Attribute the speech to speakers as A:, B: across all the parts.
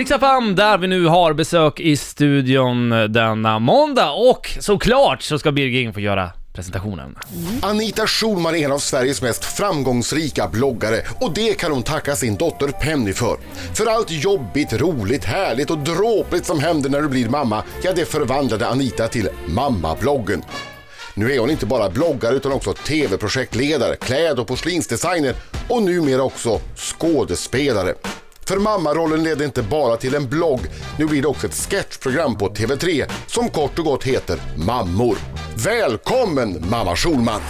A: Riksaffam där vi nu har besök i studion denna måndag och såklart så ska Birger in få göra presentationen.
B: Anita Schulman är en av Sveriges mest framgångsrika bloggare och det kan hon tacka sin dotter Penny för. För allt jobbigt, roligt, härligt och dråpligt som händer när du blir mamma, ja det förvandlade Anita till mammabloggen. Nu är hon inte bara bloggare utan också tv-projektledare, kläd och porslinsdesigner och numera också skådespelare. För mammarollen ledde inte bara till en blogg, nu blir det också ett sketchprogram på TV3 som kort och gott heter Mammor. Välkommen mamma Schulman!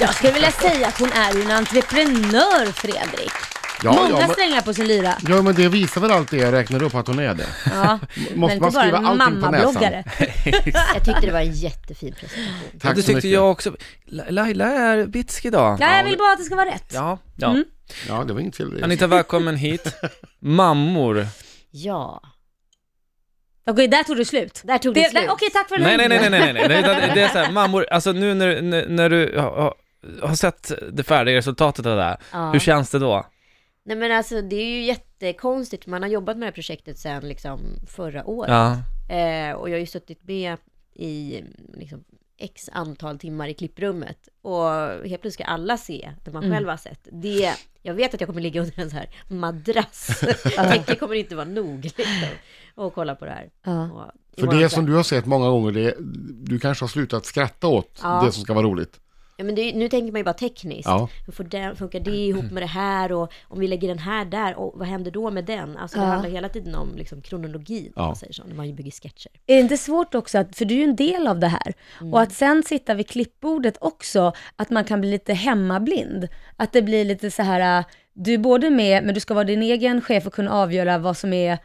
C: Jag skulle vilja säga att hon är ju en entreprenör, Fredrik.
D: Ja,
C: Många
D: ja, men-
C: strängar på sin lyra.
D: Ja men det visar väl allt det jag räknar upp att hon är det.
C: Ja, men
D: man
C: inte bara
D: skriva
C: en
D: allting på näsan?
C: mammabloggare.
E: Jag tyckte det var en jättefin presentation.
D: Tack
A: det
D: så
A: tyckte
D: mycket.
A: jag också. La- Laila är bitsk idag.
C: Nej, jag vill bara att det ska vara rätt.
A: Ja, ja.
E: Mm.
D: Ja det var inget fel.
A: Anita, välkommen hit. Mammor.
E: Ja,
C: Okej, där tog det slut.
E: där tog det,
C: Det- där-
E: slut.
C: Okej, tack för den
A: Nej, nej,
C: här
A: nej, nej,
C: intervjun.
A: nej, nej, nej. utan Det är så här, mammor, alltså nu när, när, när du har, har sett det färdiga resultatet av det här,
E: Ja.
A: hur känns det då?
E: Nej men alltså det är ju jättekonstigt. Man har jobbat med det här projektet sedan liksom förra året.
A: Ja,
E: Eh, och jag har ju suttit med i liksom, x antal timmar i klipprummet. Och helt plötsligt ska alla se det man själv har sett. Det, jag vet att jag kommer ligga under en så här madrass. Täcket kommer inte vara nog liksom, och kolla på det här.
C: Ja.
E: Och
D: För
E: imorgon
D: det
E: så-
D: som du har sett många gånger, det, du kanske har slutat skratta åt
E: Ja.
D: det som ska vara roligt.
E: Ja, men det, är- nu tänker man ju bara tekniskt.
D: Ja.
E: Hur får den, funkar det ihop med det här? Och om vi lägger den här där, och vad händer då med den? Alltså det
C: Ja.
E: handlar hela tiden om liksom, kronologin, om
D: Ja.
E: man säger så, när man bygger sketcher.
C: Är det inte svårt också, att, för du är ju en del av det här, och att sen sitta vid klippbordet också, att man kan bli lite hemmablind. Att det blir lite så här, äh, du är både med, men du ska vara din egen chef och kunna avgöra vad som är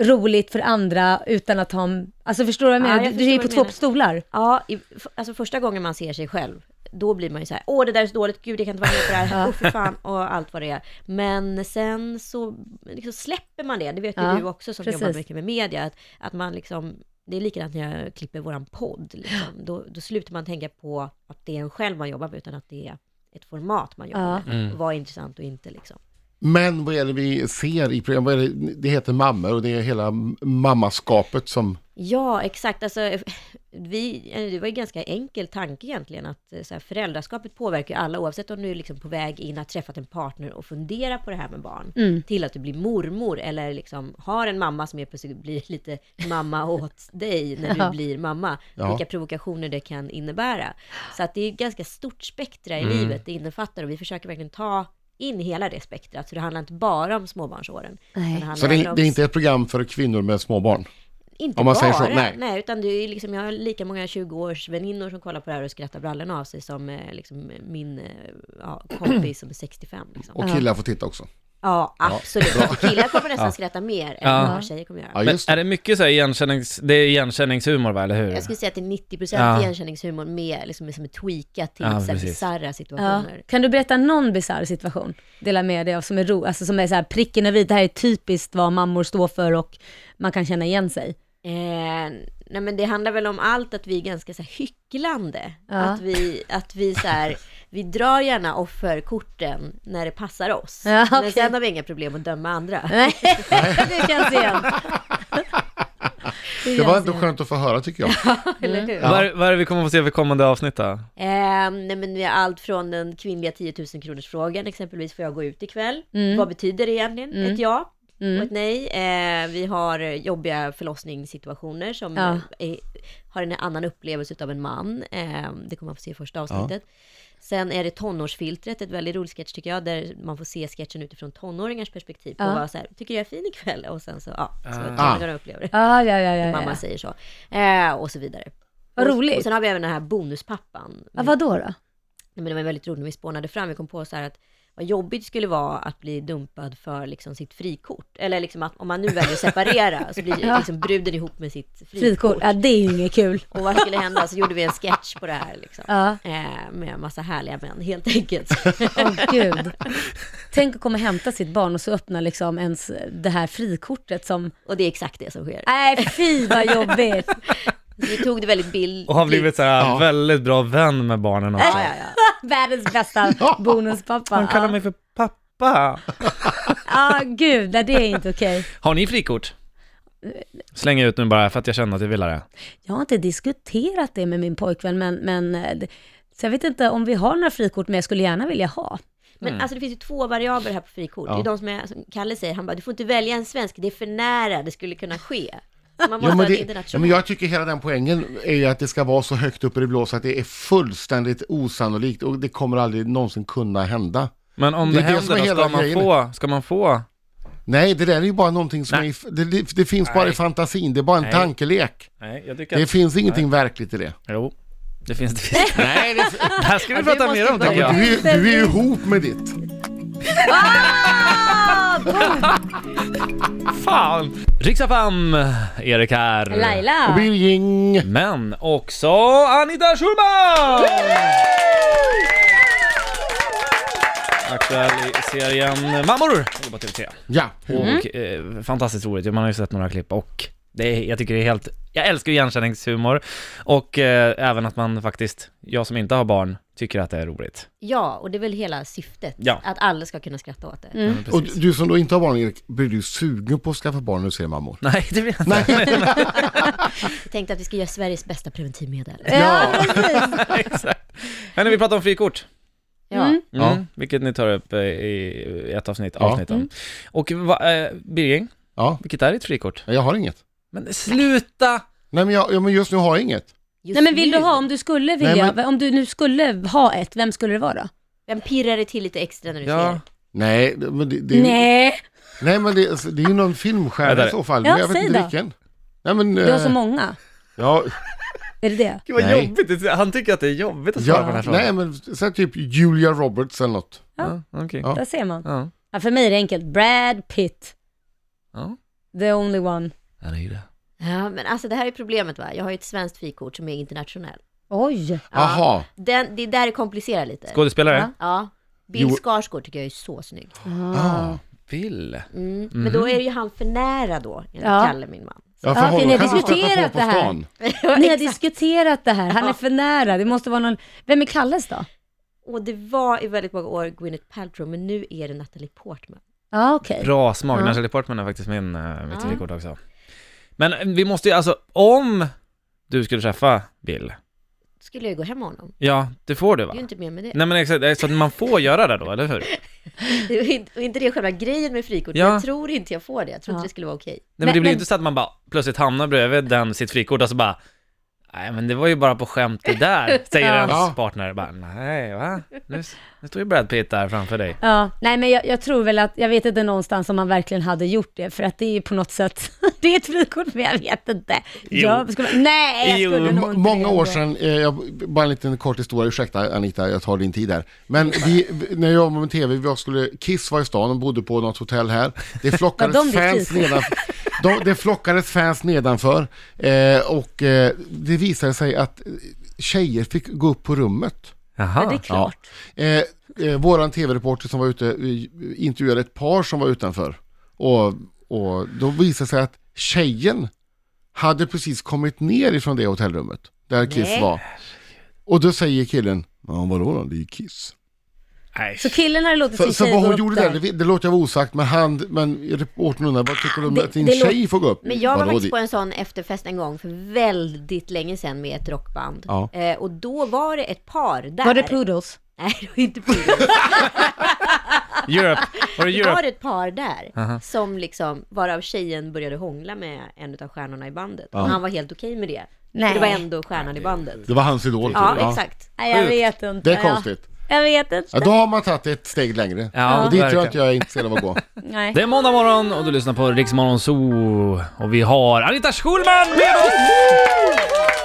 C: roligt för andra utan att ha en... Alltså förstår du vad jag
E: Ja,
C: menar?
E: jag
C: du,
E: förstår
C: du är ju
E: vad
C: på
E: du
C: två
E: menar.
C: stolar.
E: Ja, i, f- alltså första gången man ser sig själv, då blir man ju så här, åh det där är så dåligt, gud jag kan inte vara med på det här, åh för fan, och allt vad det är. Men sen så liksom släpper man det, det vet ju
C: Ja,
E: du också som
C: precis.
E: jobbar mycket med media, att, att man liksom, det är likadant när jag klipper våran podd, liksom. då, då slutar man tänka på att det är en själv man jobbar med, utan att det är ett format man jobbar
C: Ja.
E: med. Vad är intressant och inte liksom.
D: Men vad är det vi ser i programmet? Vad är det, det heter mammor och det är hela mammaskapet som...
E: Ja, exakt. Alltså, vi, eh, det var ju ganska enkel tanke egentligen att eh, så här, föräldraskapet påverkar ju alla oavsett om du är liksom på väg in, har träffat en partner och funderar på det här med barn till att du blir mormor eller liksom har en mamma som helt plötsligt blir lite mamma åt dig när du
C: Ja.
E: blir mamma.
D: Ja.
E: Vilka provokationer det kan innebära. Så att det är ett ganska stort spektra
C: Mm.
E: i livet det innefattar och vi försöker verkligen ta in hela det spektrat. Så det handlar inte bara om småbarnsåren. utan
C: Nej.
E: handlar
D: Så det,
E: även
D: är-
E: om
D: det är inte ett program för kvinnor med småbarn.
E: inte
D: Om man
E: bara,
D: säger så, nej.
E: utan det är ju liksom, jag har lika många 20-årsväninnor som kollar på det här och skrattar brallorna av sig som eh, liksom, min eh, ja, kompis som är 65. Liksom.
D: Och killar får titta också.
E: Ja, absolut. Killar kommer nästan skratta mer än
A: Ja.
E: vad tjejer kommer göra.
D: Ja,
A: men
D: just
A: är
D: det.
A: det mycket så här igenkänningshumor, det är igenkänningshumor va, eller hur?
E: Jag skulle säga att det är 90%
A: Ja.
E: igenkänningshumor med, liksom, som är tweakat till
A: Ja,
E: så här
A: precis.
E: bisarra
C: Ja.
E: situationer.
C: Kan du berätta någon bisarr situation? Dela med dig av som är ro, alltså som är så här pricken över i, det här är typiskt vad mammor står för och man kan känna igen sig.
E: Eh, nej men det handlar väl om allt att vi är ganska så här, hycklande.
C: Ja.
E: Att vi, att vi så här, vi drar gärna offerkorten när det passar oss.
C: Ja, okej.
E: Men sen har vi inga problem att döma andra.
C: Nej, det känns igen.
D: Det var ändå skönt att få höra tycker jag.
E: Eller
C: Mm.
E: hur?
A: Vad är- vad är det vi kommer få se för kommande avsnitt då?
E: Eh, nej men vi har allt från den kvinnliga 10 000 kronors frågan exempelvis, får jag gå ut ikväll?
C: Mm.
E: Vad betyder det egentligen? Ett ja och ett nej. Eh, vi har jobbiga förlossningssituationer som
C: Ja.
E: eh, är, har en annan upplevelse av en man. Eh, det kommer man få se i första avsnittet. Sen är det tonårsfiltret, ett väldigt roligt sketch tycker jag, där man får se sketchen utifrån tonåringars perspektiv. På
C: Ja.
E: vad så här, tycker jag är fin ikväll? Och sen så, ja, så
A: Ah.
E: tonåringarna upplever det.
C: Ja, ja, ja, ja.
E: Mamma
C: ja.
E: säger så. Eh, och så vidare.
C: Vad
E: Och-
C: roligt.
E: Och sen har vi även den här bonuspappan.
C: ja vad då? då?
E: Nej, men det var väldigt roligt när vi spånade fram. Vi kom på så här att vad jobbigt skulle vara att bli dumpad för liksom sitt frikort. Eller liksom att om man nu väljer att separera så blir ju liksom bruden ihop med sitt frikort.
C: Frikort, ja det är ju inget kul.
E: Och vad skulle hända? Så gjorde vi en sketch på det här liksom.
C: Ja,
E: Eh, med en massa härliga män helt enkelt.
C: åh gud. Tänk att komma och hämta sitt barn och så öppna liksom ens det här frikortet som,
E: Och det är exakt det som sker.
C: nej fy vad jobbigt.
E: Vi tog det väldigt bild.
A: Och har blivit så här, väldigt bra vän med barnen också.
E: Ja, ja, ja.
C: Världens bästa bonuspappa.
F: Han kallar mig för pappa.
C: Ja, ah, gud, nej, det är inte okej.
A: Har ni frikort? Slänger ut nu bara för att jag känner att jag vill ha det.
C: Jag har inte diskuterat det med min pojkvän, men, men eh, det- så jag vet inte om vi har några frikort, men jag skulle gärna vilja ha.
E: Men alltså det finns ju två variabler här på frikort. Det är de som, är, som Kalle säger, han bara, du får inte välja en svensk, det är för nära det skulle kunna ske. Man måste
D: Ja,
E: ha
D: men
E: ett
D: det, ja,
E: internationellt.
D: men jag tycker hela den poängen är ju att det ska vara så högt upp i det blå så att det är fullständigt osannolikt och det kommer aldrig någonsin kunna hända.
A: Men om
D: Det
A: det,
D: är det som
A: händer
D: är
A: då,
D: hela
A: ska man,
D: grejen.
A: få, ska man få?
D: Nej, det där är ju bara någonting som
A: Nej.
D: är, i f- det, det, det finns bara i fantasin, det är bara en
A: Nej.
D: tankelek.
A: Nej, jag tycker
D: Det finns ingenting verkligt i det.
A: Jo, det finns det. Finns.
D: Nej, det,
A: Det här ska vi
E: Ja, det
A: prata
E: måste
A: mer om
E: vara-
A: tycker jag.
D: du, är- du är ihop med ditt.
A: Fan! Riksafam, Erik här.
D: Och
C: Laila!
D: Birging.
A: Men också Anita Schulman! Aktuell i serien Mammor eller på TV3.
D: Ja,
A: Och eh, fantastiskt roligt, man har ju sett några klipp och det är, jag tycker det är helt, jag älskar ju igenkänningshumor och eh, även att man faktiskt, jag som inte har barn, tycker att det är roligt.
E: Ja, och det är väl hela syftet.
A: Ja.
E: Att alla ska kunna skratta åt det.
A: Mm.
D: och du som då inte har barn Erik, blir du sugen på att skaffa barn när du ser mammor?
A: Nej, det blir jag inte.
E: Jag tänkte att vi ska göra Sveriges bästa preventivmedel.
C: Ja, precis.
A: Exakt. Hörni, vi pratar om frikort.
E: Ja.
C: Mm.
A: Mm,
D: Ja.
A: Vilket ni tar upp eh, i ett avsnitt,
D: Ja.
A: avsnitt om. Och va, eh, Birging,
D: Ja,
A: vilket är ditt frikort?
D: jag har inget.
A: Men sluta!
D: Nej, men, jag, ja, men just nu har jag inget.
E: Just
C: Nej men vill
E: nu.
C: du ha, om du skulle vilja,
D: Nej, men-
C: om du nu skulle ha ett, vem skulle det vara då?
E: Vem pirrar det till lite extra när du
A: Ja.
D: Nej, det- men det, det,
C: Nej,
D: nej, men det, alltså, det är ju någon filmstjärna
A: Vänta.
D: i så fall.
C: Ja,
D: men jag vet
C: säg
D: inte
C: då.
D: vilken. Nej, men...
C: du har så
D: eh,
C: många.
D: ja,
C: Är det det?
A: Gud vad
D: Nej.
A: jobbigt, han tycker att det är jobbigt att svara på den
D: ja,
A: här frågan.
D: nej, men säg typ Julia Roberts eller något.
A: Ja, okej.
D: Ja.
C: Där ser man.
A: Ja.
C: Ja, för mig är det enkelt. Brad Pitt,
A: Ja.
C: the only one.
A: Ja, det är ju det.
E: ser det. Ja, men alltså det här är problemet va. Jag har ju ett svenskt frikort som är internationellt.
C: Oj!
E: Ja.
D: Aha.
E: Den, det är där det komplicerar lite.
A: Skådespelare?
C: Ja.
E: Ja. Bill
D: Jo.
E: Skarsgård tycker jag är så snygg.
D: Ah.
A: Bill.
E: Mm. Men då är ju han för nära då, enligt
C: Ja.
E: Kalle, min man.
D: Ja,
C: Ja, för ni har
D: kan man stöta
C: diskuterat
D: på
C: det
D: på
C: här.
D: stan.
C: Ni har diskuterat det här, han är för nära. Det måste vara någon... Vem är Kalles då?
E: Och det var i väldigt många år Gwyneth Paltrow, men nu är det Natalie Portman.
C: Ja, okej.
A: Bra smak.
C: Ja.
A: Natalie Portman är faktiskt min, eh, mitt
E: Ja.
A: frikort också. Men eh, vi måste ju alltså, om du skulle träffa Bill,
E: Skulle jag ju gå hem med honom.
A: ja, det får du va?
E: Det är ju inte mer med det.
A: Nej men exakt, eh, så att man får göra det då, eller hur? Nej
E: Det är ju inte- Och inte det är själva grejen med frikort.
A: Ja.
E: Jag tror inte jag får det. Jag tror
C: Ja.
E: inte det skulle vara okej.
A: men,
C: Men-
A: det blir
C: men-
A: inte så att man bara plötsligt hamnar bredvid den, sitt frikort och så bara Nej men det var ju bara på skämt det där, säger
C: Ja.
A: ens
D: Ja.
A: partner. Bara, Nej va? Nu, nu står ju Brad Pitt där framför dig.
C: Ja, nej men jag, jag tror väl att, jag vet inte någonstans om man verkligen hade gjort det, för att det är ju på något sätt, det är ett frikort, men jag vet inte. Jag, skulle, nej, jag
A: Jo.
C: skulle nog
D: M-
C: inte
D: många
C: det
D: år
C: ändå.
D: sedan, eh, jag, bara en liten kort historia, ursäkta Anita, jag tar din tid där. Men vi, vi- när jag var med TV, vi var- skulle, Kiss var i stan, de bodde på något hotell här. Det flockades
C: Var de ditt
D: fans
C: Kiss?
D: nedanför. De, det flockades fans nedanför eh, och eh, det visade sig att eh, tjejer fick gå upp på rummet.
A: Jaha.
C: Ja,
D: Ah,
C: det är klart.
D: Eh, eh, våran tv-reporter som var ute eh, intervjuade ett par som var utanför. Och, och då visade det sig att tjejen hade precis kommit ner ifrån det hotellrummet där Kiss
E: Nej.
D: var. Och då säger killen, ja vadå då, det är ju Kiss.
A: Nej.
C: Så killen hade låtit
D: Så,
C: sin
D: så
C: tjej
D: vad
C: gå
D: hon
C: upp
D: gjorde där, det, det låter jag vara osagt, men han, men reportern undrar, vad tycker du om
C: Det-
D: att din
C: det lå-
D: tjej får gå upp?
E: Men jag var
D: Vadå,
E: faktiskt
D: det-
E: på en sån efterfest en gång för väldigt länge sedan med ett rockband.
D: Ja.
E: Eh, och då var det ett par där.
C: Var det poodles?
E: Nej, det var inte poodle.
A: Europe, var det
E: Det var
A: Europe?
E: ett par där som liksom, varav tjejen började hångla med en av stjärnorna i bandet. Och han var helt okej med det.
C: Nej.
E: För det var ändå stjärnan i bandet.
D: Det var hans idol. typ.
E: Ja, exakt.
C: Nej, jag
A: Sjukt.
C: vet inte.
D: Det är konstigt.
C: Ja, jag vet inte.
D: Ja, då har man tagit ett steg längre.
A: Ja,
D: och dit
A: verkligen.
D: tror jag att jag är intresserad av att gå.
C: Nej.
A: Det är måndag morgon och du lyssnar på Riksmorgon Zoo och vi har Anita Schulman med oss!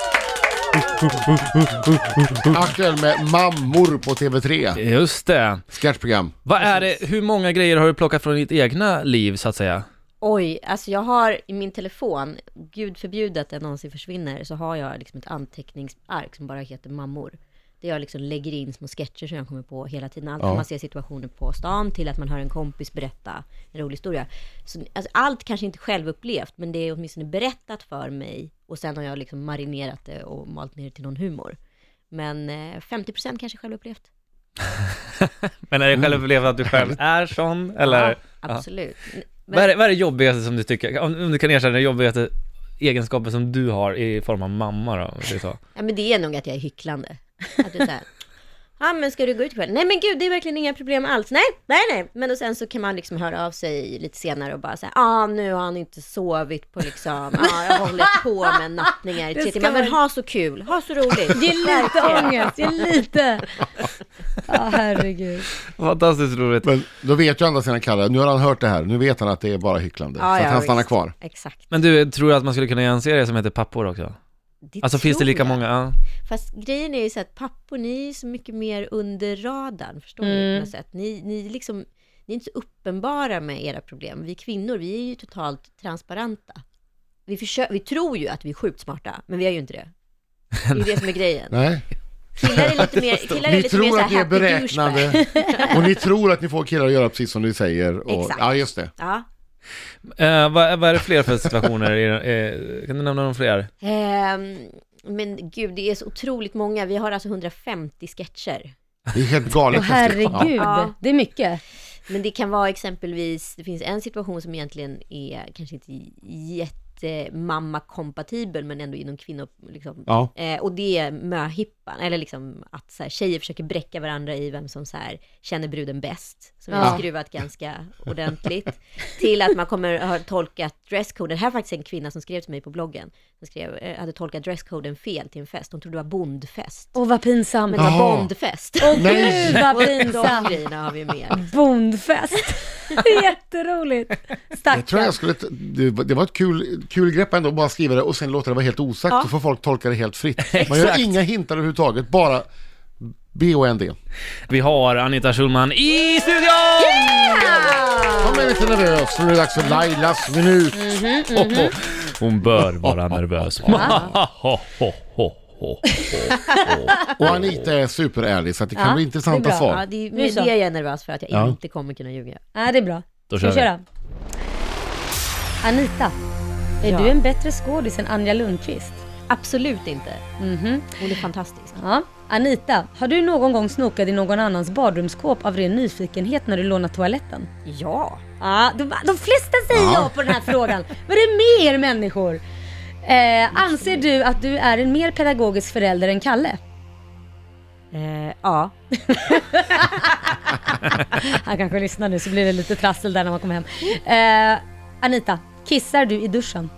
D: Aktuell med mammor på TV3.
A: Just det.
D: Sketchprogram.
A: Vad är det, hur många grejer har du plockat från ditt egna liv så att säga?
E: Oj, alltså jag har i min telefon, gud förbjude att den någonsin försvinner, så har jag liksom ett anteckningsark som bara heter mammor. Där jag liksom lägger in små sketcher som jag kommer på hela tiden. Allt från man ser situationer på stan till att man hör en kompis berätta en rolig historia. Så, alltså, allt kanske inte självupplevt, men det är åtminstone berättat för mig. Och sen har jag liksom marinerat det och malt ner det till någon humor. Men eh, 50% kanske självupplevt.
A: Men är det självupplevt att du själv är sån, eller?
E: Ja, absolut. Men-
A: Vad, är det, vad är det jobbigaste som du tycker, om, om du kan erkänna den jobbigaste egenskapen som du har i form av mamma då, om vi säger så?
E: Ja, men det är nog att jag är hycklande. Att det är så här, ja men ska du gå ut ikväll? Nej men gud, det är verkligen inga problem alls. Nej, nej, nej. Men och sen så kan man liksom höra av sig lite senare och bara säga, ah, nu har han inte sovit på liksom, ja ah, jag har hållit på med nattningar i
C: Det
E: tre
C: ska
E: timmar. Men
C: man-
E: ha så kul, ha så roligt.
C: Ge lite
E: Verkligen.
C: ångest, ge lite. Ja, herregud.
A: Fantastiskt roligt.
D: Men då vet ju andra sidan Kalle, nu har han hört det här, nu vet han att det är bara hycklande.
E: Ja,
D: så
E: ja,
D: att han stannar
E: visst.
D: kvar.
E: Exakt.
A: Men du, tror du att man skulle kunna göra en serie som heter Pappor också? Alltså finns det
E: tror
A: lika
E: jag.
A: många? Ja.
E: Fast grejen är ju så att pappor, ni är ju så mycket mer under radarn, förstår
D: Mm.
E: ni? På något sätt. Ni, ni, liksom, ni är inte så uppenbara med era problem. Vi kvinnor, vi är ju totalt transparenta. Vi, försö- vi tror ju att vi är sjukt smarta, men vi är ju inte det. Det är ju det som är grejen.
D: Nej.
E: Killar är lite mer, killar är
D: Ni
E: lite mer så
D: tror
E: här
D: att ni är
E: happy douchebag.
D: beräknande och ni tror att ni får killar att göra precis som ni säger. Och,
E: Exakt.
D: Ja, just det.
E: Ja.
A: Eh, vad, vad är det fler för situationer? i den- eh, kan du nämna någon fler?
E: Ehm, men gud, det är så otroligt många. Vi har alltså 150 sketcher.
D: Det är helt galet.
C: Åh herregud,
E: Ja.
C: det är mycket.
E: Men det kan vara exempelvis, det finns en situation som egentligen är kanske inte jättemamma-kompatibel, men ändå inom kvinnor, liksom.
D: Ja.
E: Eh, och det är möhippan, eller liksom att så här, tjejer försöker bräcka varandra i vem som så här, känner bruden bäst, som vi
C: Ja.
E: har skruvat ganska ordentligt, till att man kommer ha tolkat dresscoden. Det här är faktiskt en kvinna som skrev till mig på bloggen, som skrev, eh, hade tolkat dresscoden fel till en fest, hon trodde det var bondfest.
C: Åh vad pinsamt.
E: Men det var
D: Jaha.
E: bondfest.
D: Nej.
C: Gud vad
E: Och de
C: pinsamt.
E: grejerna har vi med.
C: Bondfest. Jätteroligt.
D: Jag tror
C: Stackarn.
D: jag skulle, t- det var det var ett kul, kul grepp ändå, bara skriva det och sen låta det vara helt osagt,
E: Ja.
D: så får folk tolka det helt fritt. Man gör inga hintar överhuvudtaget, bara B-O-N-D.
A: Vi har Anita Schulman i studion!
D: Han är lite nervös, nu är det dags för Lailas minut.
A: Hon bör vara nervös.
D: Och Anita är superärlig, så att det kan
C: Ja,
D: bli
C: det
D: intressanta
C: är bra.
D: svar.
E: Ja, det är,
C: Nu
E: det
C: så.
E: är jag är nervös för, att jag
D: Ja.
E: inte kommer kunna ljuga.
C: Ja, det är bra.
A: Då
C: Ska vi
A: kör vi.
C: köra? Anita, är
E: Ja.
C: du en bättre skådis än Anja Lundqvist?
E: Absolut inte. Hon är fantastisk.
C: Ja. Anita, har du någon gång snokat i någon annans badrumsskåp av ren nyfikenhet när du lånat toaletten?
E: Ja.
C: Ja, de, de flesta säger ja på den här frågan. Vad är det med er människor? Eh, anser du att du är en mer pedagogisk förälder än Kalle?
E: Eh, ja.
C: Han kanske lyssnar nu så blir det lite trassel där när man kommer hem. Eh, Anita, kissar du i duschen?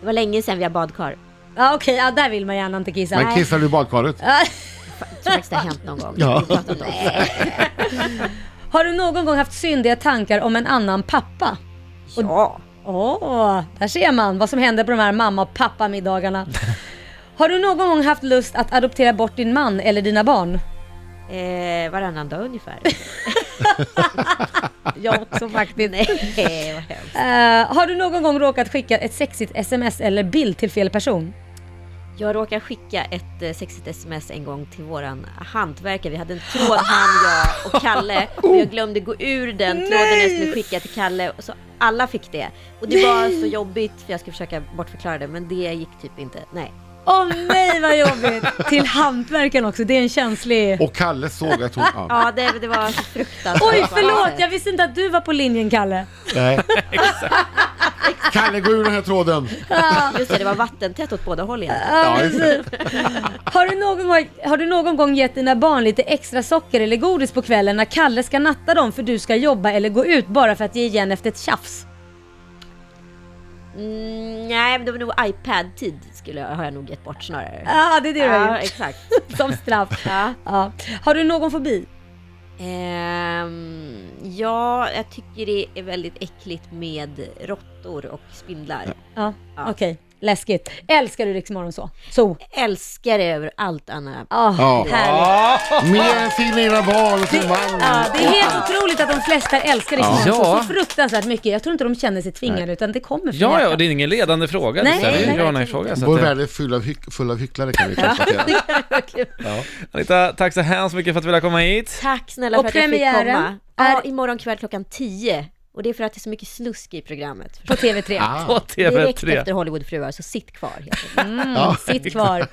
E: Det var länge sedan vi har badkar.
C: Ja okej, ja, där vill man gärna inte kissa.
D: Men kissar du i badkaret?
E: Jag tror faktiskt det har hänt någon gång.
D: Ja.
E: Vi har pratat om det.
C: Har du någon gång haft syndiga tankar om en annan pappa?
E: Ja.
C: Åh, där ser man vad som händer på de här mamma och pappamiddagarna. Har du någon gång haft lust att adoptera bort din man eller dina barn?
E: Eh, varannan dag ungefär.
C: Jag också faktiskt.
E: Eh, vad hemskt.
C: har du någon gång råkat skicka ett sexigt sms eller bild till fel person?
E: jag råkade skicka ett eh, sexigt sms en gång till våran hantverkare. Vi hade en tråd, han, jag och Kalle. Och
C: Oh.
E: jag glömde gå ur den tråden jag skulle skicka till Kalle. Och så alla fick det. Och det var så jobbigt, för jag skulle försöka bortförklara det, men det gick typ inte. Nej.
C: Åh nej vad jobbigt! till hantverkaren också, det är en känslig...
D: Och Kalle såg att hon... Ja.
E: Ja, det, det var så fruktansvärt.
C: Oj förlåt, jag visste inte att du var på linjen Kalle.
D: Nej. Kalle, gå ur den här tråden!
E: Just det, det var vattentätt åt båda håll egentligen.
C: Ja,
D: Ja, just det.
C: precis. Har du, någon gång, har du någon gång gett dina barn lite extra socker eller godis på kvällen när Kalle ska natta dem för du ska jobba eller gå ut bara för att ge igen efter ett tjafs?
E: Mm, nej, men det var nog iPad-tid skulle jag, har jag nog gett bort snarare.
C: Ja, det är det du har
E: Ja,
C: gjort.
E: exakt.
C: Som straff.
E: Ja.
C: Ja. Har du någon fobi?
E: Ehm, ja, jag tycker det är väldigt äckligt med råttor och spindlar.
C: Ja, okej. Läskigt. Älskar du Rix så? Så.
E: Älskar det över allt annat.
C: Ah,
D: Ja.
C: Härligt.
D: Mer än sina egna barn och sin
C: Ja,
D: man.
C: det är helt otroligt att de flesta älskar Rix
A: Ja.
C: så fruktansvärt mycket. Jag tror inte de känner sig tvingade utan det kommer från
A: Ja, ja,
C: hjärtat.
A: det är ingen ledande fråga.
C: Nej,
A: det är
C: nej,
A: en
C: verkligen
A: ja-nej-fråga. så
D: Vår
A: att eh, det-
D: värld är full av, hyck- full av hycklare kan vi konstatera.
A: Anita, tack så hemskt mycket för att du ville komma hit.
E: Tack snälla
C: Och
E: för att jag fick
C: premiären
E: komma.
C: är-
E: Ja, imorgon kväll klockan 10. Och det är för att det är så mycket slusk i programmet.
C: På TV3.
A: På
E: Direkt
A: TV3.
E: efter Hollywoodfruar, så sitt kvar. Helt enkelt.
C: Mm, Sitt kvar.